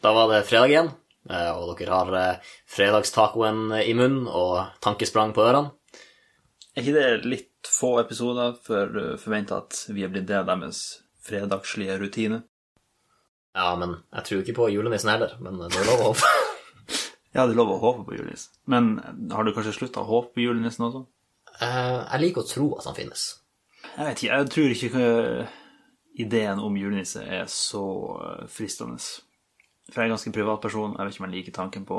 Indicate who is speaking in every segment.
Speaker 1: Da var det fredag igjen, eh, og dere har eh, fredagstacoen i munnen og tankesprang på ørene.
Speaker 2: Er ikke det litt få episoder før du forventer at vi er blitt del av deres fredagslige rutine?
Speaker 1: Ja, men jeg tror ikke på julenissen heller, men eh, det er lov å håpe.
Speaker 2: Ja, det er lov å håpe på julenissen. Men eh, har du kanskje slutta å håpe på julenissen også?
Speaker 1: Eh, Jeg liker å tro at han finnes.
Speaker 2: Jeg vet ikke. Jeg tror ikke eh, ideen om julenisse er så eh, fristende. For jeg er en ganske privat person. Jeg vet ikke om jeg liker tanken på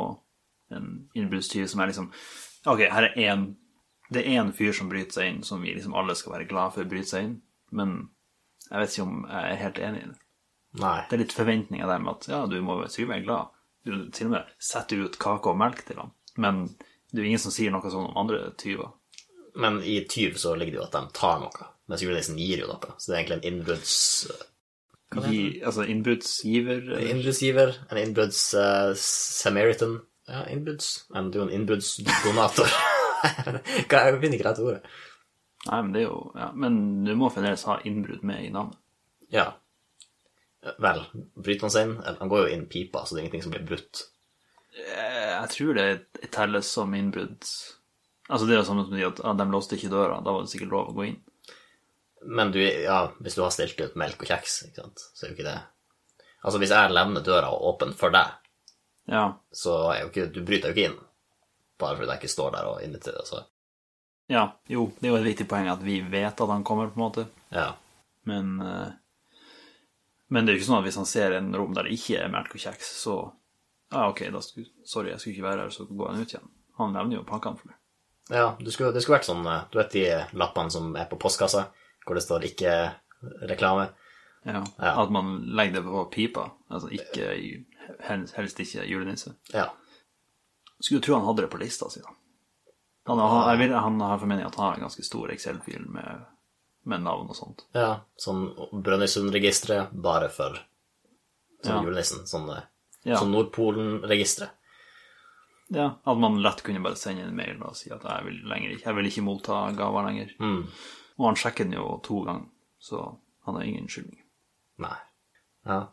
Speaker 2: en innbruddstyv som er liksom Ok, her er én Det er én fyr som bryter seg inn, som vi liksom alle skal være glad for bryter seg inn. Men jeg vet ikke om jeg er helt enig i det.
Speaker 1: Nei.
Speaker 2: Det er litt forventninger der med at ja, du må sikkert være glad. Du til og med setter ut kake og melk til ham. Men det er jo ingen som sier noe sånn om andre tyver.
Speaker 1: Men i tyv så ligger det jo at de tar noe, mens julenissen gir jo noe. Så det er egentlig en innbrudds...
Speaker 2: Gi, altså innbruddsgiver
Speaker 1: En
Speaker 2: eller?
Speaker 1: innbruddsgiver, eh, en innbrudds eh, Samaritan Ja, innbrudds Men du er jo en innbruddsdonator. Hva, jeg finner ikke rett ordet.
Speaker 2: Nei, men det er jo ja, Men du må fremdeles ha innbrudd med i navnet.
Speaker 1: Ja. Vel, bryter han seg inn? Eller, Han går jo inn pipa, så det er ingenting som blir brutt.
Speaker 2: Eh, Jeg tror det telles som innbrudd. Altså, det er jo samme som å si at ah, de låste ikke døra, da var det sikkert lov å gå inn.
Speaker 1: Men du, ja, hvis du har stilt ut melk og kjeks, ikke sant, så er jo ikke det Altså, hvis jeg levner døra åpen for deg,
Speaker 2: Ja,
Speaker 1: så er jo ikke Du bryter jo ikke inn. Bare fordi jeg ikke står der og inviterer. Så.
Speaker 2: ja, jo, det er jo et viktig poeng at vi vet at han kommer, på en måte,
Speaker 1: Ja.
Speaker 2: men eh, Men det er jo ikke sånn at hvis han ser en rom der det ikke er melk og kjeks, så Ja, ah, ok, da skulle, sorry, jeg skulle ikke være her, så går han ut igjen. Han nevner jo pakkene for meg.
Speaker 1: ja du skulle, det skulle vært sånn eh, Du vet de lappene som er på postkassa, hvor det står 'ikke reklame'?
Speaker 2: Ja,
Speaker 1: Ja.
Speaker 2: At man legger det på pipa, altså ikke i- helst helst ikke julenisse.
Speaker 1: Ja.
Speaker 2: Skulle tro han hadde det på lista si, da. Han, han, jeg vil, han har formening at han har en ganske stor Excel-fil med, med navn og sånt.
Speaker 1: ja. Sånn Brønnøysundregisteret bare for sånn
Speaker 2: Ja.
Speaker 1: julenissen. Sånn, eh,
Speaker 2: Ja.
Speaker 1: sånn Nordpolen-registeret.
Speaker 2: Ja, At man lett kunne bare sende en mail og si at jeg vil, lenger, ikke- jeg vil ikke motta gaver lenger.
Speaker 1: Mm.
Speaker 2: Og han sjekker den jo to ganger, så han har ingen unnskyldning.
Speaker 1: Nei. Ja.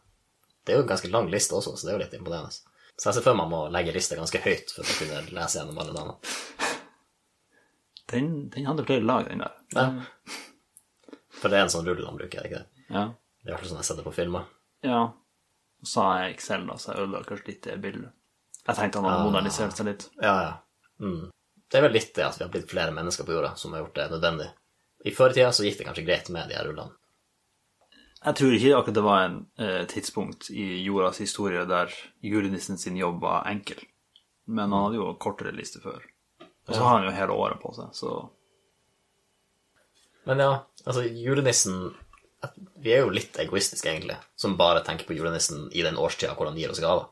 Speaker 1: Det er jo en ganske lang liste også, så det er jo litt imponerende. Så jeg ser for meg man må legge lista ganske høyt for å kunne lese gjennom alle damene.
Speaker 2: Den, den hadde flere lag, den der.
Speaker 1: For det er en sånn rull han bruker, er det ikke det?
Speaker 2: Ja.
Speaker 1: Det er i hvert fall sånn jeg ser det på filmer.
Speaker 2: ja. Og så har jeg Excel, da, så jeg ødela kanskje litt det bildet. Jeg tenkte han hadde modernisert seg litt.
Speaker 1: Ja, ja. Mm. Det er vel litt det at vi har blitt flere mennesker på jorda som har gjort det nødvendig. I før i tida så gikk det kanskje greit med de her rullene.
Speaker 2: Jeg tror ikke akkurat det var en eh, tidspunkt i jordas historie der julenissen sin jobb var enkel. Men han hadde jo kortere liste før. Og så har han jo hele året på seg, så
Speaker 1: Men ja, altså julenissen at- Vi er jo litt egoistiske, egentlig, som bare tenker på julenissen i den årstida hvor han gir oss gaver.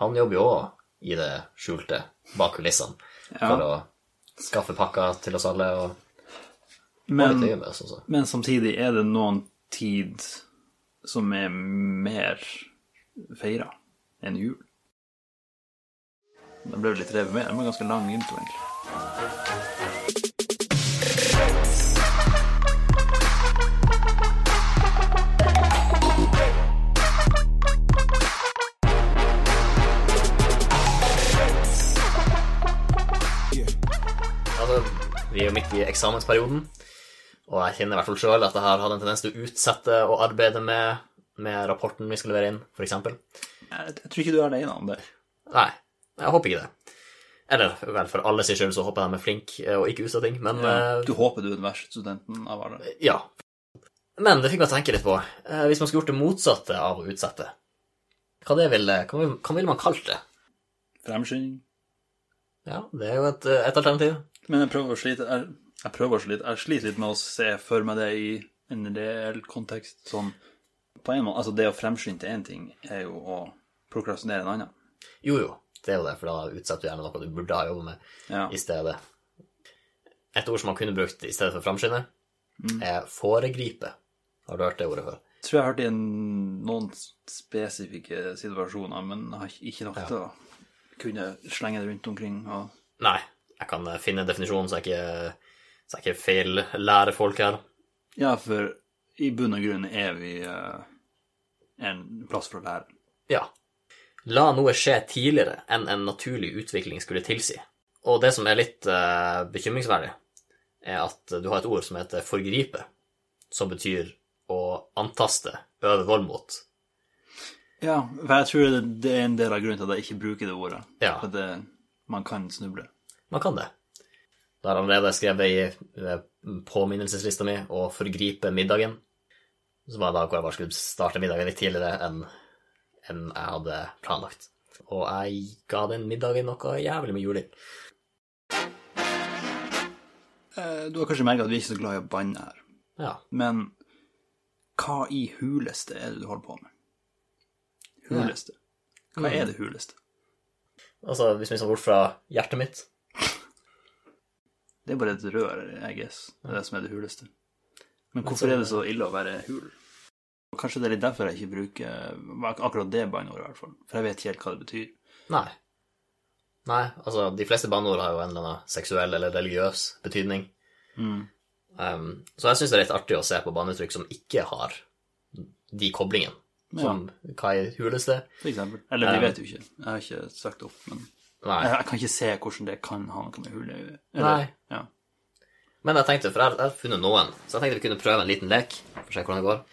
Speaker 1: Han jobber jo òg i det skjulte, bak kulissene, for å skaffe pakker til oss alle og ha litt
Speaker 2: men,
Speaker 1: øye med oss også.
Speaker 2: men samtidig er det noen tid som er mer feira enn jul. Da ble det litt revet med. Det var en ganske lang intro, egentlig.
Speaker 1: Altså, vi er jo midt i eksamensperioden, og jeg kjenner i hvert fall sjøl at jeg har hatt en tendens til å utsette å arbeide med, med rapporten vi skal levere inn, f.eks.
Speaker 2: Jeg, jeg tror ikke du er alene om det.
Speaker 1: Nei, jeg håper ikke det. Eller vel, for alle sin skyld så håper jeg de er flinke og ikke utstøting, men eh,
Speaker 2: Du håper du er den verste studenten av alle.
Speaker 1: Ja. Men det fikk meg tenke litt på, eh, hvis man skulle gjort det motsatte av å utsette, hva, det ville, hva, vil- hva ville man kalt det?
Speaker 2: Fremskynding.
Speaker 1: Ja, det er jo et, eh, et alternativ.
Speaker 2: Men jeg prøver å slite jeg, jeg prøver å slite Jeg sliter litt med å se for meg det i en reell kontekst. Sånn på en måte Altså, det å fremskynde til én ting er jo å prokrastinere en annen.
Speaker 1: Jo, jo, det er jo det, for da utsetter du gjerne noe du burde ha jobbet med,
Speaker 2: Ja.
Speaker 1: i stedet. Et ord som man kunne brukt i stedet for framskynde, er foregripe. Har du hørt det ordet før?
Speaker 2: Jeg tror jeg har hørt det i en- noen spesifikke situasjoner, men jeg har ikke- ikke nok til å kunne slenge det rundt omkring. Og
Speaker 1: Nei, jeg kan eh, finne definisjonen så jeg ikke, så jeg ikke feil lærer folk her.
Speaker 2: ja, for i bunn og grunn er vi eh, en plass for å lære.
Speaker 1: Ja. La noe skje tidligere enn en naturlig utvikling skulle tilsi. Og det som er litt eh, bekymringsverdig, er at du har et ord som heter forgripe, som betyr å antaste, øve vold mot.
Speaker 2: Ja, for jeg tror det, det er en del av grunnen til at jeg ikke bruker det ordet.
Speaker 1: Ja.
Speaker 2: For det, man kan snuble.
Speaker 1: Man kan det. Da har jeg allerede skrevet i eh, påminnelseslista mi å forgripe middagen. Som var da hvor jeg bare skulle starte middagen litt tidligere enn enn jeg hadde planlagt. Og jeg ga den middagen noe jævlig med juling.
Speaker 2: Eh, Du har kanskje merka at vi er ikke så glad i å banne her,
Speaker 1: Ja.
Speaker 2: men hva i huleste er det du holder på med? Huleste. Hva er det huleste?
Speaker 1: Altså, hvis vi ser bort fra hjertet mitt
Speaker 2: Det er bare et rør, I guess. Det er det som er det huleste. Men hvorfor er det så ille å være hul? Kanskje det er litt derfor jeg ikke bruker ak- akkurat det banneordet, i hvert fall. For jeg vet ikke helt hva det betyr.
Speaker 1: Nei. Nei, altså, de fleste banneord har jo en eller annen seksuell eller religiøs betydning.
Speaker 2: Mm.
Speaker 1: Um, så jeg syns det er litt artig å se på banneuttrykk som ikke har de koblingene. Som hva i huleste?
Speaker 2: For eksempel. Eller
Speaker 1: Ja.
Speaker 2: vi vet jo ikke. Jeg har ikke sagt opp, men
Speaker 1: Nei.
Speaker 2: jeg, jeg kan ikke se hvordan det kan ha noe med hul å gjøre.
Speaker 1: Nei.
Speaker 2: Ja.
Speaker 1: Men jeg tenkte, for jeg, jeg har funnet noen, så jeg tenkte vi kunne prøve en liten lek. For å se hvordan det går.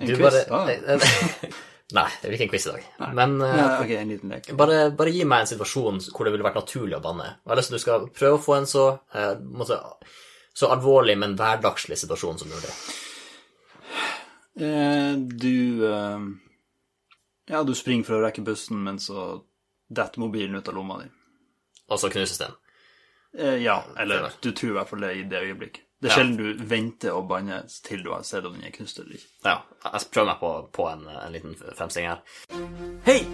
Speaker 2: En
Speaker 1: Du
Speaker 2: quiz?
Speaker 1: bare-
Speaker 2: ah.
Speaker 1: Nei, det blir ikke en quiz i dag. Men eh,
Speaker 2: Ja, ok, en liten lek.
Speaker 1: bare, bare gi meg en situasjon hvor det ville vært naturlig å banne. Og jeg har lyst til at du skal prøve å få en så, eh, måte, så alvorlig, men hverdagslig situasjon som mulig.
Speaker 2: Eh, du eh, Ja, du springer for å rekke bussen, men så detter mobilen ut av lomma di.
Speaker 1: Og så knuses den.
Speaker 2: Eh, ja, eller du tror i hvert fall det i det øyeblikket. Det er sjelden du venter å banne til du har sett om den er knust eller ikke.
Speaker 1: Ja, jeg prøver meg på, på en, en liten fremstilling her.
Speaker 2: Hei!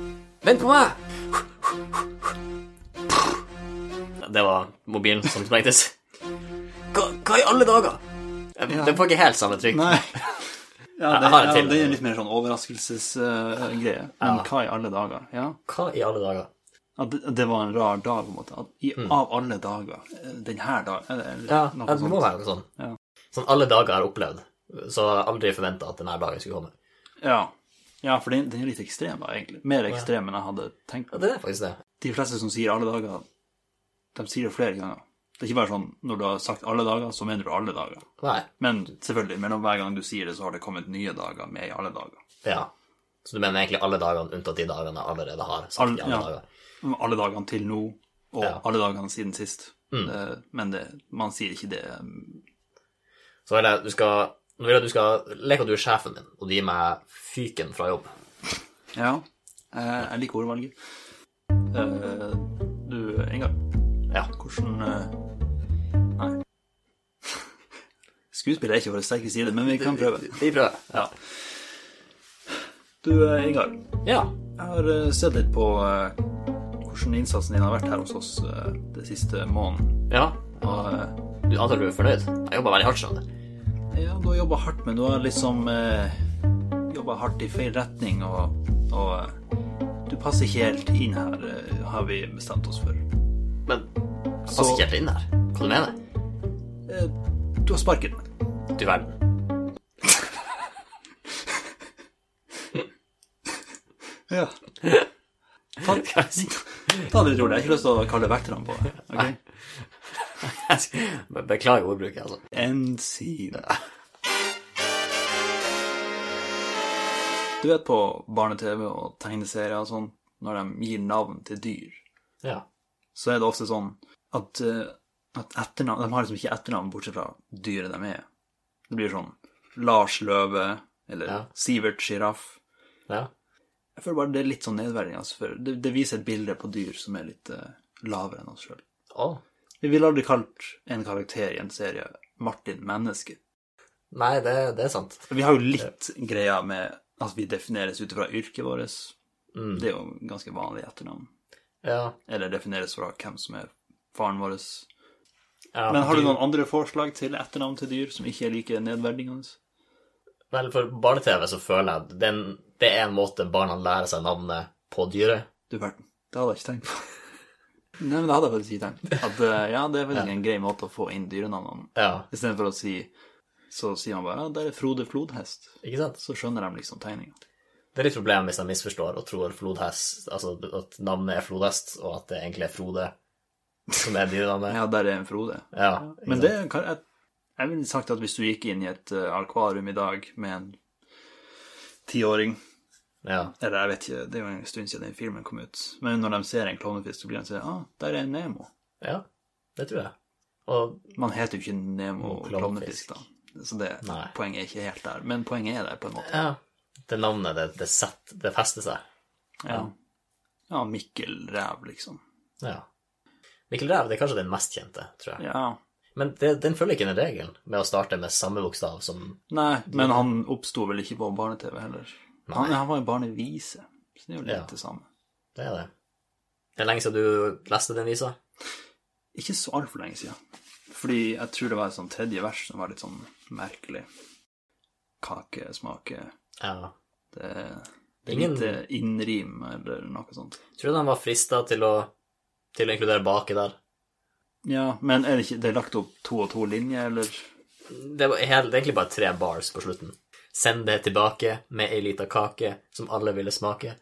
Speaker 1: Vent på meg! Det var mobilen som sprengtes. Hva, hva i alle dager?
Speaker 2: Ja.
Speaker 1: Det får ikke helt samme trykk.
Speaker 2: Nei. Ja, det,
Speaker 1: har en
Speaker 2: ja,
Speaker 1: til.
Speaker 2: det er litt mer sånn overraskelsesgreie. men hva i alle dager? Ja.
Speaker 1: Hva i alle dager?
Speaker 2: At det, det var en rar dag, på en måte. At i, Av alle dager. eh, Den her dagen. Eller, eller
Speaker 1: Mm. Ja,
Speaker 2: noe
Speaker 1: det må
Speaker 2: sånt.
Speaker 1: være noe sånn.
Speaker 2: Ja.
Speaker 1: Sånn alle dager jeg har opplevd. Så jeg har aldri forventa at denne dagen skulle komme.
Speaker 2: Ja. ja, for den, den er litt ekstrem, da, egentlig. Mer ekstrem enn jeg hadde tenkt.
Speaker 1: Ja, det er faktisk det.
Speaker 2: De fleste som sier alle dager, de sier det flere ganger. Det er ikke bare sånn når du har sagt alle dager, så mener du alle dager.
Speaker 1: Nei.
Speaker 2: Men selvfølgelig, mellom hver gang du sier det, så har det kommet nye dager med i alle dager.
Speaker 1: Ja. Så du mener egentlig alle dagene unntatt de dagene jeg allerede har sagt
Speaker 2: Alle-
Speaker 1: i alle
Speaker 2: ja.
Speaker 1: dager?
Speaker 2: Alle dagene til nå, og
Speaker 1: Ja. Mm.
Speaker 2: alle dagene siden sist. Eh, Men det, man sier ikke det mm,
Speaker 1: Så vil jeg, du skal, nå vil jeg at du skal leke at du er sjefen min, og du gir meg fyken fra jobb.
Speaker 2: Ja, eh, jeg liker ordvalget. Eh, du, Ingar,
Speaker 1: Ja.
Speaker 2: hvordan eh, Nei. Skuespill er ikke vår sterke side, men vi kan prøve.
Speaker 1: Vi prøver.
Speaker 2: Ja. Du, eh, Ingar,
Speaker 1: Ja.
Speaker 2: jeg har eh, sett litt på eh, hvordan innsatsen din har vært her hos oss eh, det siste måneden.
Speaker 1: ja.
Speaker 2: Og, eh,
Speaker 1: Du antar du er fornøyd? Jeg jobba veldig hardt, skjønner du.
Speaker 2: Ja, du har jobba hardt, men du har liksom eh, jobba hardt i feil retning, og, og eh, du passer ikke helt inn her, eh, har vi bestemt oss for.
Speaker 1: Men jeg passer ikke helt inn her. Hva du mener
Speaker 2: Eh, du har sparken.
Speaker 1: du? verden.
Speaker 2: Ja. Ta, ta det litt rolig. Jeg har ikke lyst til å kalle vekterne på deg. ok?
Speaker 1: Be- Beklager ordbruket, altså.
Speaker 2: En side. Du vet på barne-TV og tegneserier og sånn, når de gir navn til dyr,
Speaker 1: Ja.
Speaker 2: så er det ofte sånn at, eh, at etternavn De har liksom ikke etternavn bortsett fra dyret de er. Det blir sånn Lars Løve eller
Speaker 1: Ja.
Speaker 2: Sivert Sjiraff.
Speaker 1: ja.
Speaker 2: Jeg føler bare det er litt sånn nedverdigende. Altså, for det, det viser et bilde på dyr som er litt eh, lavere enn oss sjøl.
Speaker 1: Å.
Speaker 2: Vi ville aldri kalt en karakter i en serie Martin Menneske.
Speaker 1: Nei, det, det er sant.
Speaker 2: Vi har jo litt greia med at vi defineres ut fra yrket vårt.
Speaker 1: Mm.
Speaker 2: Det er jo ganske vanlig etternavn.
Speaker 1: Ja.
Speaker 2: Eller defineres fra hvem som er faren vår.
Speaker 1: ja.
Speaker 2: Men har du noen andre forslag til etternavn til dyr som ikke er like nedverdigende?
Speaker 1: Vel, for barne-TV så føler jeg at den, det er en måte barna lærer seg navnet på dyret.
Speaker 2: Du verden. Det hadde jeg ikke tenkt på. Nei, men det hadde jeg faktisk ikke tenkt. At eh, ja, det er faktisk en grei måte å få inn dyrenavnene
Speaker 1: Ja.
Speaker 2: I stedet for å si Så sier man bare ja, det er Frode Flodhest.
Speaker 1: Ikke sant?
Speaker 2: Så skjønner de liksom tegninga.
Speaker 1: Det er litt problemet hvis jeg misforstår og tror flodhest, altså at navnet er flodhest, og at det egentlig er Frode som er dyrenavnet.
Speaker 2: Ja, der er en Frode.
Speaker 1: Ja, ikke
Speaker 2: Men
Speaker 1: sant?
Speaker 2: det kan jeg, jeg ville sagt at hvis du gikk inn i et eh, akvarium i dag med en tiåring
Speaker 1: ja.
Speaker 2: Eller jeg vet ikke, det er jo en stund siden den filmen kom ut. Men når de ser en klovnefisk, så blir de sånn ah, der er en Nemo.
Speaker 1: ja, det tror jeg. Og
Speaker 2: Man heter jo ikke Nemo
Speaker 1: Og klovnefisk.
Speaker 2: klovnefisk, da. Så det,
Speaker 1: Nei.
Speaker 2: poenget er ikke helt der. Men poenget er der, på en måte.
Speaker 1: ja, det navnet, det, det, sett, det fester seg.
Speaker 2: Ja, ja Mikkel Ræv, liksom.
Speaker 1: Ja. Mikkel Ræv det er kanskje den mest kjente, tror jeg.
Speaker 2: Ja.
Speaker 1: Men det, den følger ikke den regelen med å starte med samme bokstav som
Speaker 2: Nei, men han oppsto vel ikke på barne-TV heller. Han, han var jo barnevise, så det er jo litt
Speaker 1: Ja.
Speaker 2: det samme.
Speaker 1: Det er det. Det er lenge siden du leste den visa?
Speaker 2: Ikke så altfor lenge siden. Fordi jeg tror det var et sånn tredje vers som var litt sånn merkelig. Kake smaker
Speaker 1: Ja.
Speaker 2: Det, det er
Speaker 1: Ingen-
Speaker 2: lite innrim eller noe sånt.
Speaker 1: Tror du han var frista til å, til å inkludere baki der?
Speaker 2: Ja, men er det ikke Det er lagt opp to og to linjer, eller?
Speaker 1: Det, var, hel- det er egentlig bare tre bars på slutten. Send det tilbake med ei lita kake som alle ville smake.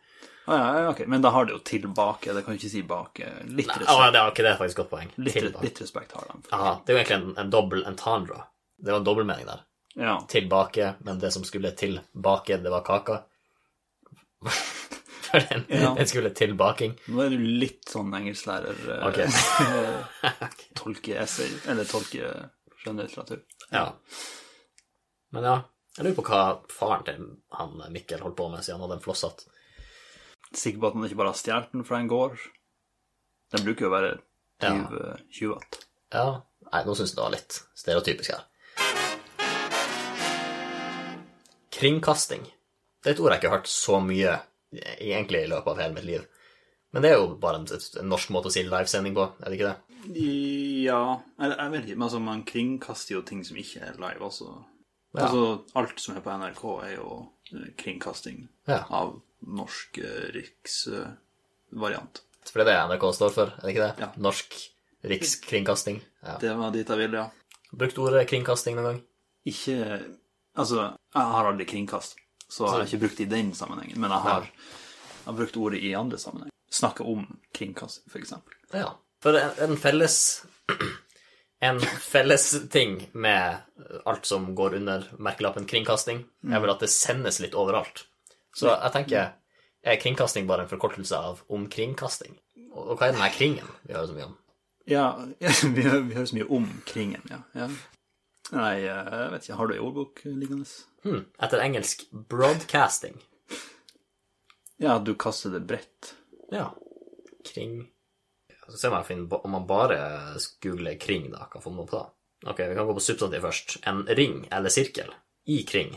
Speaker 2: Å ja, ja, ok. Men da har det jo tilbake. Det kan jo ikke si bake. Litt
Speaker 1: Nei,
Speaker 2: respekt,
Speaker 1: å, Ah, det var ikke det er faktisk et godt poeng.
Speaker 2: litt,
Speaker 1: Tilbake.
Speaker 2: litt respekt har de.
Speaker 1: Ja, det er jo egentlig en, en dobbel entendre. Det var en dobbeltmening der.
Speaker 2: Ja.
Speaker 1: Tilbake, men det som skulle tilbake, det var kaka. For den,
Speaker 2: Ja.
Speaker 1: den skulle til baking.
Speaker 2: Nå er du litt sånn engelsklærer eh,
Speaker 1: Ok.
Speaker 2: Tolke essay, eller tolke skjønnlitteratur.
Speaker 1: Ja. Men ja, jeg lurer på hva faren til han Mikkel holdt på med siden han hadde en flosshatt.
Speaker 2: Sikker på at man ikke bare har stjålet den fra en gård. Den bruker jo å være
Speaker 1: Ja.
Speaker 2: 20 watt.
Speaker 1: Ja, nei, nå syns jeg det var litt stereotypisk her. Kringkasting. Det er et ord jeg ikke har hørt så mye i- egentlig i løpet av hele mitt liv. Men det er jo bare en, en norsk måte å si livesending på, er det ikke det?
Speaker 2: Ja Eller jeg vet ikke, men altså, man kringkaster jo ting som ikke er live, altså.
Speaker 1: Ja.
Speaker 2: Altså, alt som er på NRK, er jo eh, kringkasting
Speaker 1: Ja.
Speaker 2: av norsk eh, riksvariant.
Speaker 1: For det er det NRK står for, er det ikke det?
Speaker 2: Ja.
Speaker 1: Norsk Rikskringkasting. Ja.
Speaker 2: det var dit jeg ville, ja.
Speaker 1: Brukt ordet kringkasting noen gang?
Speaker 2: Ikke Altså, jeg har aldri kringkast, så jeg har ikke brukt det i den sammenhengen, men jeg har, jeg har brukt ordet i andre sammenheng. Snakke om kringkasting, for eksempel.
Speaker 1: Ja. For en, en felles En felles ting med alt som går under merkelappen kringkasting, er vel at det sendes litt overalt. Så jeg tenker Er kringkasting bare en forkortelse av omkringkasting? Og og hva er den her kringen vi hører så mye om?
Speaker 2: Ja, vi, hø- vi hører så mye om kringen, ja. ja. Nei, eh, jeg vet ikke, har du ei ordbok liggende?
Speaker 1: Hmm. Etter engelsk 'broadcasting'.
Speaker 2: Ja, du kaster det bredt.
Speaker 1: Ja. Kring Så ser man finner, om man bare googler kring, da, kan få noe på det. Ok, vi kan gå på substantiv først. En ring eller sirkel i kring.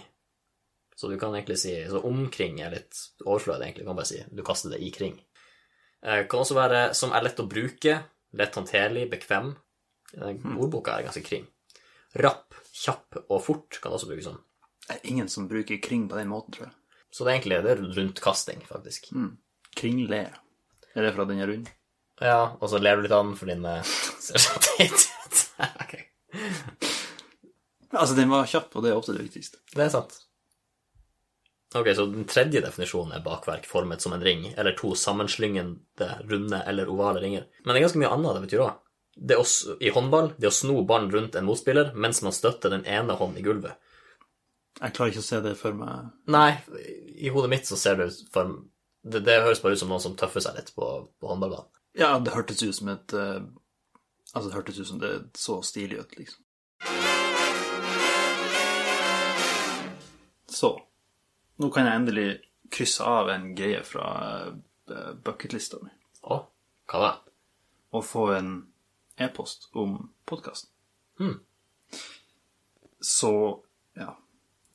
Speaker 1: Så du kan egentlig si Så omkring er litt overflødig, egentlig. Du kan bare si du kaster det i kring. Eh, kan også være som er lett å bruke, lett håndterlig, bekvem. Eh, Ordboka er ganske kring. Rapp, kjapp og fort kan også brukes som.
Speaker 2: Det er ingen som bruker kring på den måten, tror jeg.
Speaker 1: Så det er egentlig det er rundkasting, faktisk.
Speaker 2: Kringle. Er det fra den er rund?
Speaker 1: Ja, og så ler du litt av den for din eh, ser så teit ut. Ok.
Speaker 2: Altså, den var kjapp, og det er ofte det viktigste.
Speaker 1: Det er sant. Ok, så den tredje definisjonen er bakverk formet som en ring, eller to sammenslingende, runde eller ovale ringer. Men det er ganske mye annet det betyr òg. Det er også, I håndball det er å sno ballen rundt en motspiller mens man støtter den ene hånden i gulvet.
Speaker 2: Jeg klarer ikke å se det for meg.
Speaker 1: Nei, i hodet mitt så ser det ut for det, det høres bare ut som noen som tøffer seg litt på, på håndballbanen.
Speaker 2: Ja, det hørtes ut som et eh, Altså, det hørtes ut som det så stilig ut, liksom. Så Nå kan jeg endelig krysse av en greie fra eh, bucketlista mi
Speaker 1: Å, hva da?
Speaker 2: og få en e-post om podkasten.
Speaker 1: Hmm.
Speaker 2: Så ja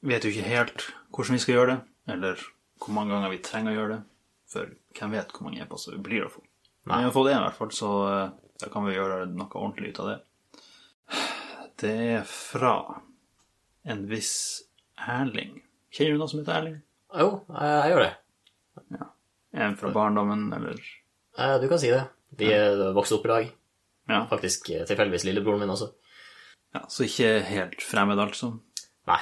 Speaker 2: Vet jo ikke helt hvordan vi skal gjøre det, eller hvor mange ganger vi trenger å gjøre det. For hvem vet hvor mange e-poster vi blir å få. Men vi har fått én, i hvert fall, så eh, da kan vi gjøre noe ordentlig ut av det. Det er fra en viss Erling. Kjenner du noen som heter Erling?
Speaker 1: Jo, jeg, jeg gjør det.
Speaker 2: En fra barndommen, eller
Speaker 1: Eh, Du kan si det. Vi eh, vokste opp i lag.
Speaker 2: Ja,
Speaker 1: Faktisk eh, tilfeldigvis lillebroren min også.
Speaker 2: ja så ikke helt fremmed, altså.
Speaker 1: Nei.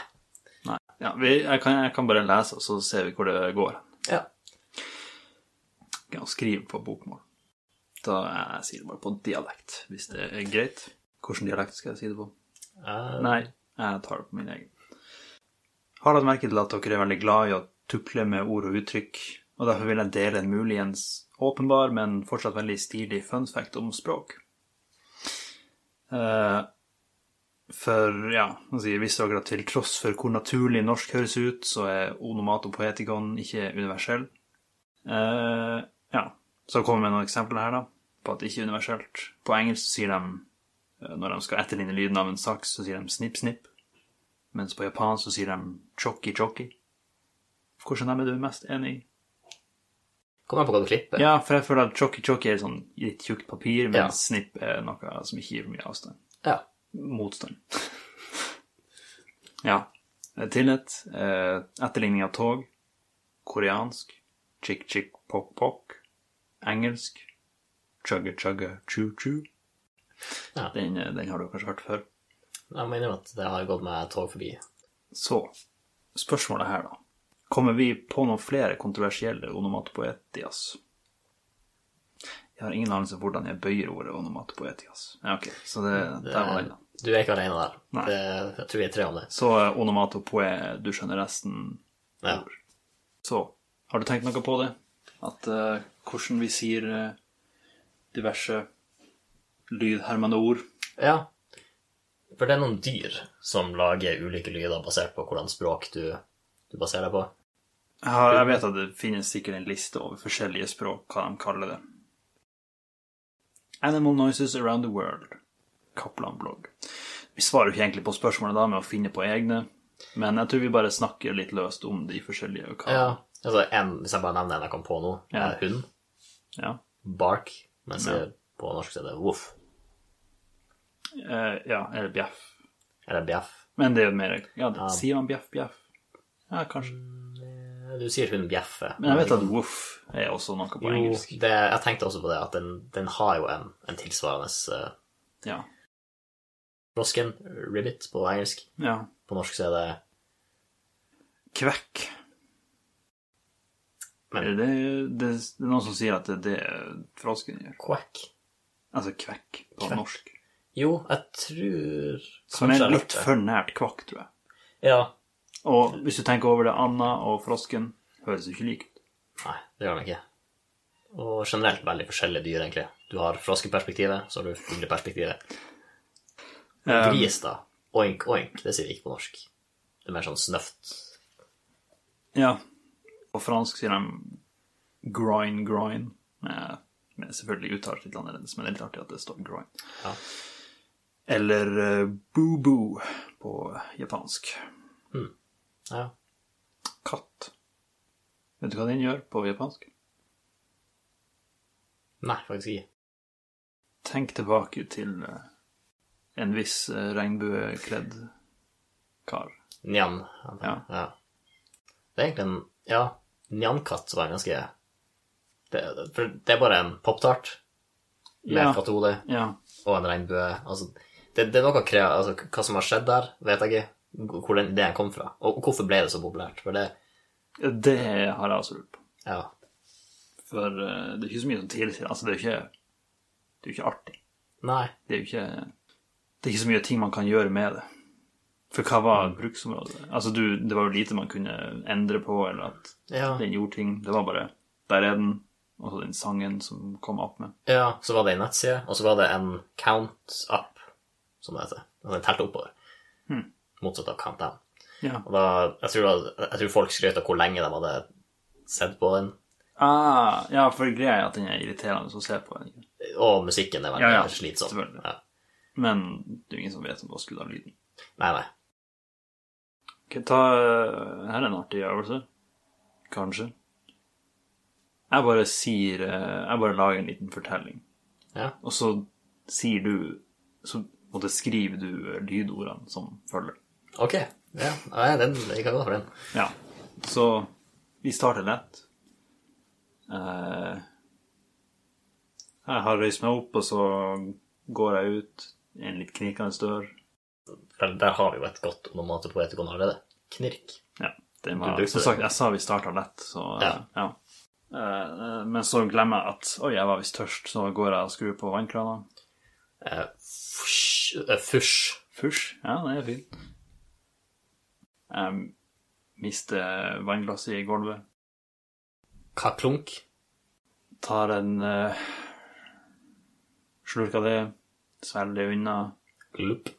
Speaker 2: Nei. Ja, vi, jeg, kan, jeg kan bare lese, og så ser vi hvor det går.
Speaker 1: Ja.
Speaker 2: kan skrive på bokmål. Da eh, jeg sier det bare på dialekt, hvis det er greit. Hvilken dialekt skal jeg si det på?
Speaker 1: Eh,
Speaker 2: Nei, jeg tar det på min egen. Har lagt merke til at dere er veldig glad i å tukle med ord og uttrykk, og derfor vil jeg dele en muligens åpenbar, men fortsatt veldig stilig fun fact om språk. Eh, for, ja, nå sier visste dere at til tross for hvor naturlig norsk høres ut, så er onomatopoetikon ikke universell. Eh, ja, så kommer jeg med noen eksempler her da, på at det ikke er universelt. På engelsk sier de Eh, Når de skal etterligne lyden av en saks, så sier de snipp, snipp. Mens på japansk så sier de chokki, chokki. Hvordan av dem er du mest enig i?
Speaker 1: Kommer an på hva du klipper.
Speaker 2: Ja, for jeg føler at chokki, chokki er sånn litt tjukt papir, mens
Speaker 1: Ja.
Speaker 2: snipp er noe som ikke gir for mye avstand.
Speaker 1: Ja.
Speaker 2: Motstand. ja. Eh, Tillit. Eh, etterligning av tog. Koreansk. Chick, chick, pok, pok. Engelsk. Chugga, chugga, choo, choo.
Speaker 1: Ja.
Speaker 2: Den, eh, den har du kanskje hørt før.
Speaker 1: Jeg må innrømme at det har gått meg tog forbi.
Speaker 2: Så spørsmålet her, da. Kommer vi på noen flere kontroversielle onomatopoetias? Jeg har ingen anelse om hvordan jeg bøyer ordet onomatopoetias. Ja, ok, så det, der var den, da.
Speaker 1: Du er ikke alene der.
Speaker 2: Nei.
Speaker 1: Det, jeg tror vi er tre om det.
Speaker 2: Så eh, onomatopoe, du skjønner resten.
Speaker 1: Ja.
Speaker 2: Så har du tenkt noe på det? At eh, hvordan vi sier eh, diverse lydhermende ord?
Speaker 1: ja. For det er noen dyr som lager ulike lyder basert på hvordan språk du, du baserer deg på.
Speaker 2: Jeg, har, jeg vet at det finnes sikkert en liste over forskjellige språk, hva de kaller det. Animal Noises Around the World, Kaplan-blogg. Vi svarer jo ikke egentlig på spørsmålet da med å finne på egne, men jeg tror vi bare snakker litt løst om de forskjellige. og Hva.
Speaker 1: Ja. Altså, en, hvis jeg bare nevner en jeg kom på nå,
Speaker 2: Ja.
Speaker 1: er hund.
Speaker 2: Ja.
Speaker 1: Bark. Mens jeg på norsk sier det voff.
Speaker 2: Eh, ja, eller bjeff.
Speaker 1: Eller bjeff.
Speaker 2: Men det er jo mer Ja, det,
Speaker 1: Ja. Mm.
Speaker 2: sier man bjeff, bjeff? Ja, kanskje.
Speaker 1: Du sier hun bjeffer.
Speaker 2: Men jeg vet at woof er også noe på
Speaker 1: jo,
Speaker 2: engelsk.
Speaker 1: det, jeg tenkte også på det, at den, den har jo en, en tilsvarende eh,
Speaker 2: Ja.
Speaker 1: frosken, ribbit, på engelsk.
Speaker 2: ja.
Speaker 1: På norsk så er det
Speaker 2: Kvekk.
Speaker 1: Men-
Speaker 2: Er Det, det, det er noen som sier at det, det er frosken gjør.
Speaker 1: quack.
Speaker 2: Altså kvekk på
Speaker 1: Kvekk.
Speaker 2: norsk.
Speaker 1: Jo, jeg tror
Speaker 2: Som
Speaker 1: Kanskje jeg
Speaker 2: er
Speaker 1: har hørt
Speaker 2: litt
Speaker 1: det.
Speaker 2: for nært kvakk, tror jeg.
Speaker 1: Ja.
Speaker 2: Og hvis du tenker over det, Anna og frosken høres jo ikke like ut.
Speaker 1: Nei, det gjør den ikke. Og generelt veldig forskjellige dyr, egentlig. Du har froskeperspektivet, så har du fugleperspektivet.
Speaker 2: Um,
Speaker 1: Gris, da. Oink, oink. Det sier vi ikke på norsk. Det er mer sånn snøft.
Speaker 2: ja. På fransk sier de groin, groin. Med, med selvfølgelig uttalt litt annerledes, men det er litt artig at det står groin.
Speaker 1: Ja.
Speaker 2: Eller eh, boo-boo på japansk.
Speaker 1: Hmm. Ja.
Speaker 2: Katt. Vet du hva den gjør på japansk?
Speaker 1: Nei, faktisk ikke.
Speaker 2: Tenk tilbake til eh, en viss eh, regnbuekledd kar.
Speaker 1: Njan. Ja.
Speaker 2: Ja.
Speaker 1: ja. Det er egentlig en Ja, njankatt var en ganske det, For det er bare en poptart med
Speaker 2: Ja.
Speaker 1: et kattehode
Speaker 2: Ja.
Speaker 1: og en regnbue. Altså, det, det er noe kre... Altså, hva som har skjedd der, vet jeg ikke. Hvor den ideen kom fra. Og hvorfor ble det så populært? For det
Speaker 2: Det har jeg også lurt på.
Speaker 1: Ja.
Speaker 2: For eh, det er ikke så mye som tilsier Altså, det er jo ikke, det er jo ikke artig.
Speaker 1: Nei.
Speaker 2: Det er jo ikke Det er ikke så mye ting man kan gjøre med det. For hva var bruksområdet? Altså, du, det var jo lite man kunne endre på, eller at
Speaker 1: Ja.
Speaker 2: den gjorde ting. Det var bare Der er den. Og så den sangen som kom opp med.
Speaker 1: Ja, så var det en nettside, og så var det en count-app, som det heter. Altså den telte oppover.
Speaker 2: Hmm.
Speaker 1: Motsatt av countdown.
Speaker 2: Ja.
Speaker 1: Og da, jeg tror, da, jeg tror folk skrøt av hvor lenge de hadde sett på den.
Speaker 2: Ah, ja, for greia er at den er irriterende å se på. Ikke?
Speaker 1: Og musikken er veldig
Speaker 2: Ja, ja,
Speaker 1: slitsom.
Speaker 2: selvfølgelig.
Speaker 1: Ja.
Speaker 2: Men det er jo ingen som vet om det var skudd av lyden.
Speaker 1: Nei, nei.
Speaker 2: Ok, ta, eh, her er en artig øvelse. Kanskje. Jeg bare sier eh, Jeg bare lager en liten fortelling.
Speaker 1: Ja.
Speaker 2: Og så sier du Så måtte skriver du eh, lydordene som følger.
Speaker 1: Ok. Ja, nei, den, jeg kan gå for den.
Speaker 2: Ja. Så vi starter lett. Eh, jeg har røyst meg opp, og så går jeg ut i en litt knirkende dør.
Speaker 1: For der har vi jo et godt onomatopoetikon allerede. Knirk.
Speaker 2: Ja. Den
Speaker 1: Du
Speaker 2: var,
Speaker 1: brukte
Speaker 2: som
Speaker 1: det.
Speaker 2: sagt, jeg sa vi starta lett, så ja.
Speaker 1: Ja.
Speaker 2: ja. Eh, Men så glemmer jeg at oi, jeg var visst tørst, så går jeg og skrur på vannkrana.
Speaker 1: Eh, fusj, eh, fusj.
Speaker 2: Fusj. Ja, det er fint. Jeg mister vannglasset i gulvet.
Speaker 1: Kaklunk.
Speaker 2: Tar en eh, slurk av det, svelger det unna.
Speaker 1: Glupp.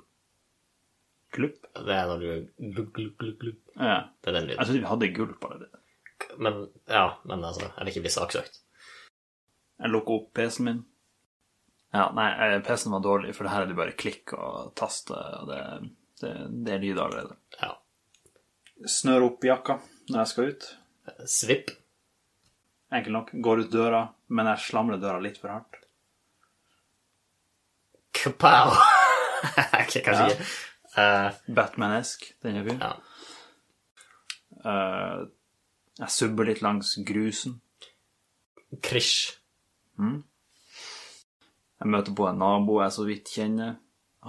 Speaker 2: Glupp.
Speaker 1: Det er når du glupp, glupp, glupp, glupp.
Speaker 2: Ja.
Speaker 1: Det er den
Speaker 2: Jeg
Speaker 1: lyden.
Speaker 2: trodde vi hadde gulp allerede.
Speaker 1: Men ja, men altså, jeg vil ikke bli saksøkt.
Speaker 2: Jeg lukka opp PC-en min. Ja, nei, eh, PC-en var dårlig, for her er det bare klikk og taste, og det, det, det er lyd allerede.
Speaker 1: Ja.
Speaker 2: Snør opp jakka når jeg skal ut.
Speaker 1: Svipp.
Speaker 2: Enkelt nok. Går ut døra, men jeg slamrer døra litt for hardt.
Speaker 1: Kapow! Ok, Kanskje
Speaker 2: Ja.
Speaker 1: ikke. Eh,
Speaker 2: Batman-esk, den er fin.
Speaker 1: ja.
Speaker 2: Eh, jeg subber litt langs grusen.
Speaker 1: Krish.
Speaker 2: Jeg møter på en nabo jeg så vidt kjenner.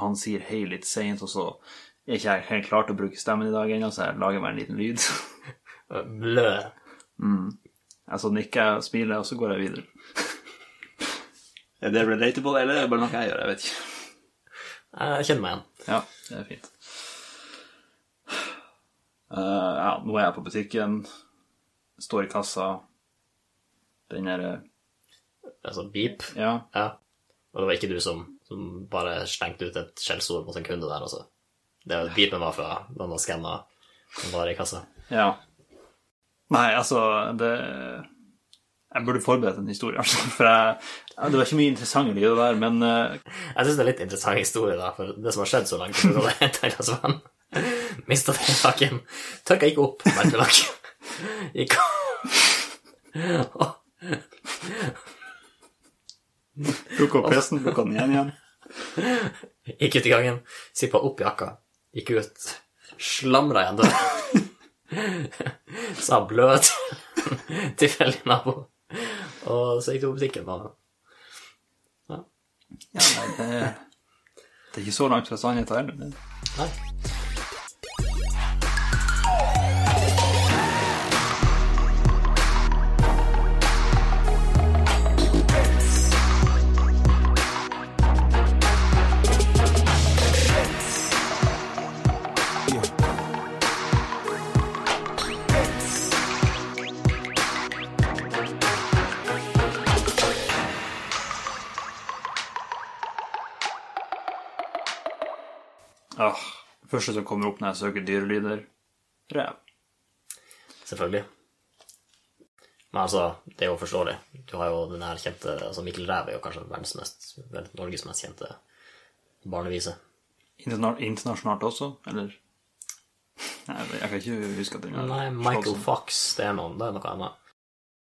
Speaker 2: Han sier hei litt seint, og så er ikke jeg helt klar til å bruke stemmen i dag ennå, så jeg lager meg en liten lyd.
Speaker 1: Eh, Blø.
Speaker 2: Jeg så nikker jeg og smiler, og så går jeg videre. Er det relatable, eller er det bare noe jeg gjør? Jeg vet ikke.
Speaker 1: Jeg kjenner meg igjen.
Speaker 2: Ja, det er fint. Eh, ja, nå er jeg på butikken, står i kassa. Den er eh,
Speaker 1: Altså beep.
Speaker 2: Ja,
Speaker 1: Ja. Og det var ikke du som, som bare slengte ut et skjellsord mot en kunde der, altså. Det beepen var fra den som skanna en vare i kassa.
Speaker 2: ja. Nei, altså, det Jeg burde forberedt en historie, altså, for jeg ja, Det var ikke mye interessant i det der, men eh,
Speaker 1: Jeg syns det er litt interessant historie, da, for det som har skjedd så langt så det er et glass vann. Mista den saken. Tørka ikke opp, merkelig nok. Gikk og
Speaker 2: Plukk opp PC-en, plukk den igjen igjen.
Speaker 1: Gikk ut i gangen, sippa opp jakka, gikk ut, slamra igjen døra. Sa bløt tilfeldig nabo. Og så gikk du på butikken og
Speaker 2: Ja, nei, det, det er ikke så langt fra sannheten heller. men-
Speaker 1: Nei.
Speaker 2: Ah, første som kommer opp når jeg søker dyrelyder rev.
Speaker 1: Selvfølgelig. Men altså, det er jo forståelig. Du har jo den her kjente altså Mikkel Ræv er jo kanskje verdens mest, vel, Norges mest kjente barnevise.
Speaker 2: Interna internasjonalt også, eller? Nei, jeg kan ikke huske at den er
Speaker 1: Nei, Michael Fox, det er noen, det er noe annet.